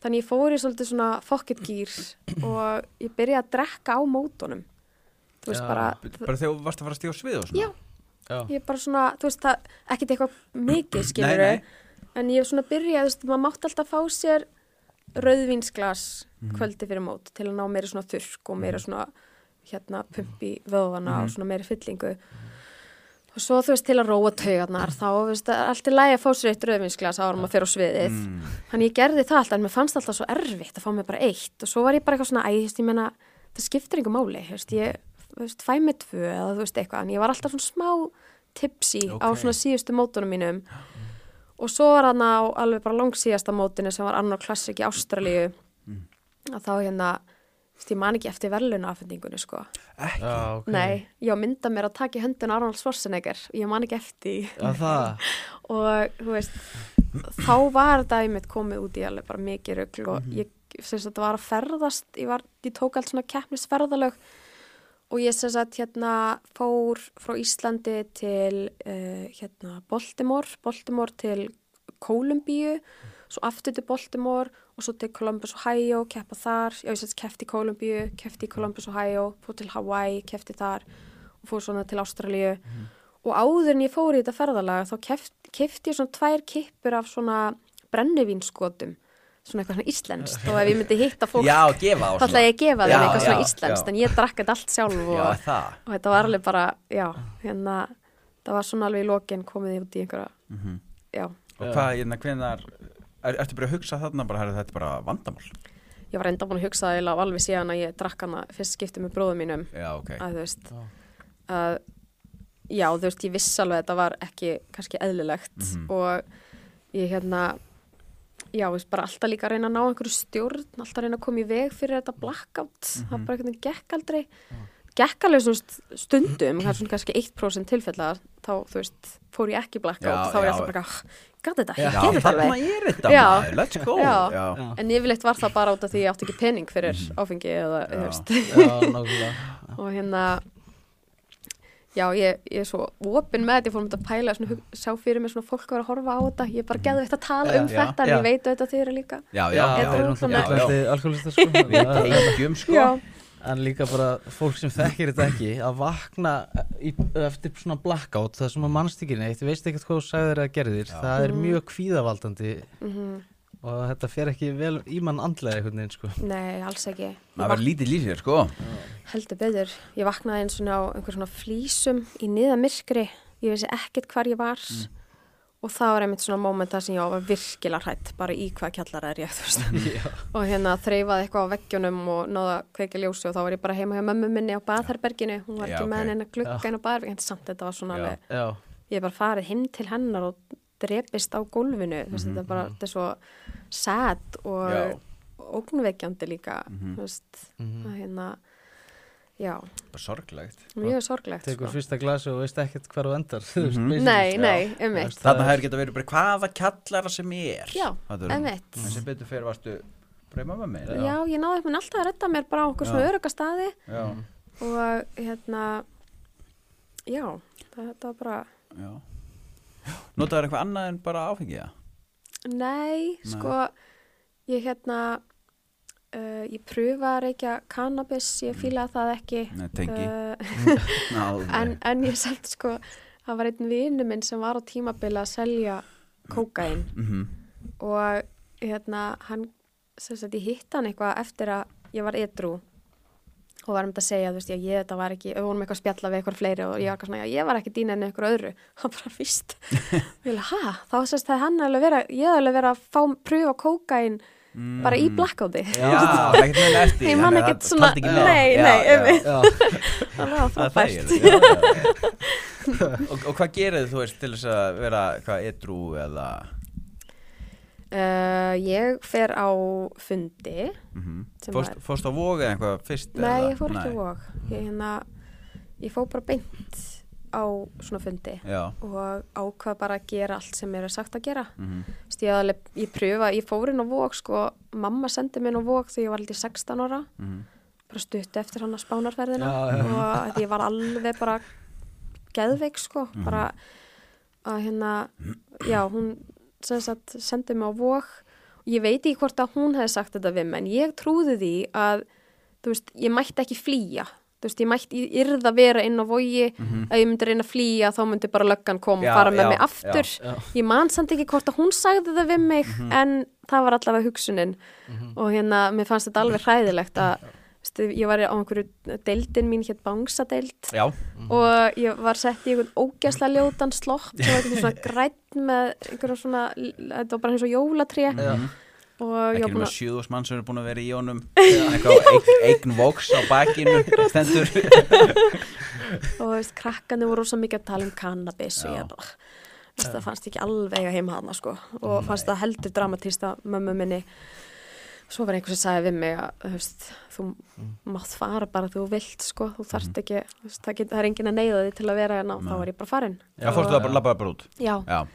Þannig ég fór í svolítið svona pocket gear og ég byrjaði að drekka á mótunum. Þú veist Já, bara, bara þegar þú varst að fara að stíga á svið og svona Já. Já. ég bara svona, þú veist það, ekkert eitthvað mikið nei, skilur nei, en ég svona byrjaði, þú veist, maður mátti alltaf fá sér rauðvinsglas Mhm. kvöldi fyrir mót til að ná meira svona þurrk og meira svona, hérna, pumpi vöðvana og svona meira fyllingu. Og svo, þú veist, til að róa taugarnar, þá, þú veist, það er allt í lagi að fá sér eitt rauðvinsglas ára maður fyrir á sviðið. Þannig ég gerði það alltaf, en mér fannst alltaf svo erfitt að fá mér bara eitt og svo var ég bara eitthvað svona, æ, þú veist, ég meina, það skiptir yngur máli, þú veist, ég, þú veist, fæ mér tvö eða þú veist eitthvað, en ég var alltaf svona smá tipsi á Ókei. svona síðustu mótunum mínum og svo var hann á alveg bara langsíðasta mótinu sem var annar klassik í Ástralíu að þá hérna, þú veist, ég man ekki eftir verðluna afhendingunni, sko. Já, ok. Nei, ég á mynda mér að taka í höndun Arnold Schwarzenegger, ég man ekki eftir því Já, það. og þú veist þá var þetta einmitt komið út í alveg bara mikið rugl og ég sem sagt var að ferðast, ég, var, ég tók allt svona keppnisferðalög og ég sem sagt hérna fór frá Íslandi til uh, hérna Baltimore, Baltimore til Kólumbíu, svo aftur til Baltimore og svo til Columbus, Ohio, keppa þar, já ég sem sagt kefti í Kólumbíu, kefti í Columbus, Ohio, fór til Hawaii, kefti þar og fór svona til Ástralíu og áður en ég fór í þetta ferðalag þá kefti, kefti ég svona tvær kippur af svona brennivínskotum svona eitthvað svona íslenskt og ef ég myndi hitta fólk já, gefa á þá ætla ég að gefa þeim Já, eitthvað svona já, íslenskt já. en ég drakk þetta allt sjálf já, og, það og þetta var alveg bara, já hérna, það var svona alveg í lokin komið út í einhverja Mhm. já, og hvað, hérna, hvenar er, ertu bara að hugsa þarna bara, herri, þetta er bara vandamál ég var enda búin að hugsa það eiginlega alveg síðan að ég drakk hana fyrst skipti með bróðum mínum já, ok, að þú veist Já. að, já þú veist ég viss alveg að þetta var ekki kannski eðlilegt Mhm. og ég hérna já þú veist bara alltaf líka að reyna að ná einhverju stjórn, alltaf að reyna að koma í veg fyrir þetta blackout, Mhm. það bara einhvern veginn gekk aldrei, gekk alveg svona st- stundum, kannski, kannski 1% tilfella þá þú veist fór ég ekki í blackout, Já, þá er já. ég alltaf bara gæti þetta, ég já, gerði þetta þarna alveg er þetta Já. maður, let's go Já. Já. Já. en yfirleitt var það bara út af því ég átti ekki pening fyrir áfengi eða, Mhm. Já. þú veist Já, nákvæmlega. og hérna já, ég, ég er svo opinn með þetta, ég fór um þetta að pæla svona, hug- sjá fyrir mig svona fólk að vera að horfa á þetta ég er bara geðu þetta að tala um Já, þetta en já. ég veit auðvitað þið eru líka já, Já, já, já, það er já, náttúrulega já. mikilvægt alkoholista sko. við Það- tengjum sko já, En líka bara fólk sem þekkir þetta ekki að vakna eh, í, eftir svona blackout það sem að mannst ekki neitt, veist ekkert hvað þú sagðir að gerðir það Mhm. er mjög kvíðavaldandi og þetta fer ekki vel í mann andlega einhvern veginn sko nei, alls ekki Ég maður var lítið lýsir sko Heldur betur. Ég vaknaði eins og á einhver svona flýsum í niðamirkri. Ég vissi ekkert hvar ég var Mm. og það var einmitt svona móment þar sem ég var virkilega hrætt bara í hvað kjallar er ég, þú veist. og hérna þreifaði eitthvað á veggjunum og náða að kveika ljósi og þá var ég bara heima hjá mömmu minni á baðherberginu. Hún var Já, ekki ok. með henni að glugga inn á baðherberginu. En samt þetta var svona Já. alveg, Já, ég er bara farið heim til hennar og drepist á gólfinu. Þú veist, þetta er bara, þetta er svo sad og Mhm, Já. Mhm. ógnvekjandi líka, þú veist, Mhm. að hérna, já. bara sorglegt Mjög sorglegt tekur sko. fyrsta glasi og veist ekkert hvar þú endar mm -hmm. Nei, nei, um mitt Mhm. þarna hefur geta verið bara hvaða kallara sem er Já, Þetta er- um mitt en sem betur fyrir varstu breyma með mig Já, ég náði upp alltaf að redda mér bara á okkur Já. svona örugastadi já, og hérna já, það, það var bara já notaður eitthvað annað en bara áfengiða nei, sko ég hérna uh, ég pröfa að reykja kannabis ég fílaði það ekki Nei, tengi. uh, en, en en ég samt sko það var einn vinu minn sem var á tímabili að selja kókain Mm-hmm. og hérna hann, sem sagt, ég hitt hann eitthvað eftir að ég var edru og var um þetta að segja, þú veist, já, ég þetta var ekki við vorum eitthvað að spjalla við eitthvað fleiri og ég var eitthvað svona, já, ég var ekki dýna en eitthvað öðru hann bara fyrst, ég vil, ha, þá sérst það hann alveg vera, ég alveg vera að fá pröfa kókain bara Mm. í blackouti já, það er ekkert með eftir ég man þannig að ekkert það svona, taldi ekki með. nei, Já, nei, já. einmitt. Já, það var Það er frábært þægilegt, já, já. og, og hvað gerir þú veist til þess að vera hvað edru eða uh, ég fer á fundi mm Sem fórst, var- fórst á voga eða eitthvað fyrst Nei, eða? ég fór ekki Nei. á vok. Ég, hérna, ég fór bara beint á svona fundi já, og ákvað bara að gera allt sem mér er sagt að gera. mhm, Mm -hmm. Ég, alveg, ég pröfa, ég fór inn á vok, sko, mamma sendi mér inn á vok þegar ég var aldrei 16 ára, mhm. bara stutt eftir hann að spánarferðina Já, já. og að ég var alveg bara geðveik, sko, bara að hérna, já, hún sem sagt, sendi mig á vok ég veit ekki hvort að hún hefði sagt þetta við mig en ég trúði því að þú veist, ég mætti ekki flýja þú veist, ég mætti, ég yrði að vera inn á vogi að ég myndi reyna að flýja þá myndi bara löggan koma Já, og fara með já, mig aftur Mhm. já. ég man samt ekki hvort að hún sagði það við mig en það var allavega hugsunin og hérna, mér fannst þetta alveg hræðilegt að Vistu, ég var á einhverju deildin mín hétt bangsadeild já, og ég var sett í einhvern ógæsla ljótan slopp sem var einhvern svona grætt með einhverja svona, þetta var bara eins og jólatrí og ég mhm. ekki var búin nema að sjöðus mann sem eru búin að vera í honum eitthvað á eign- eign voks á bakinu stendur og þú veist, krakkanu voru rosa mikið að tala um cannabis og ég bara þú veist, það fannst ekki alveg að heima hana sko og fannst það heldur dramatista mömmu minni svo var einhver sem sagði við mig að þú veist, þú mátt fara bara þegar þú vilt sko, þú þarft ekki þú veist, það, get, það er engin að neyða þig til að vera hérna og þá var ég bara farin já, fórstu það bara labbaði bara út já, já,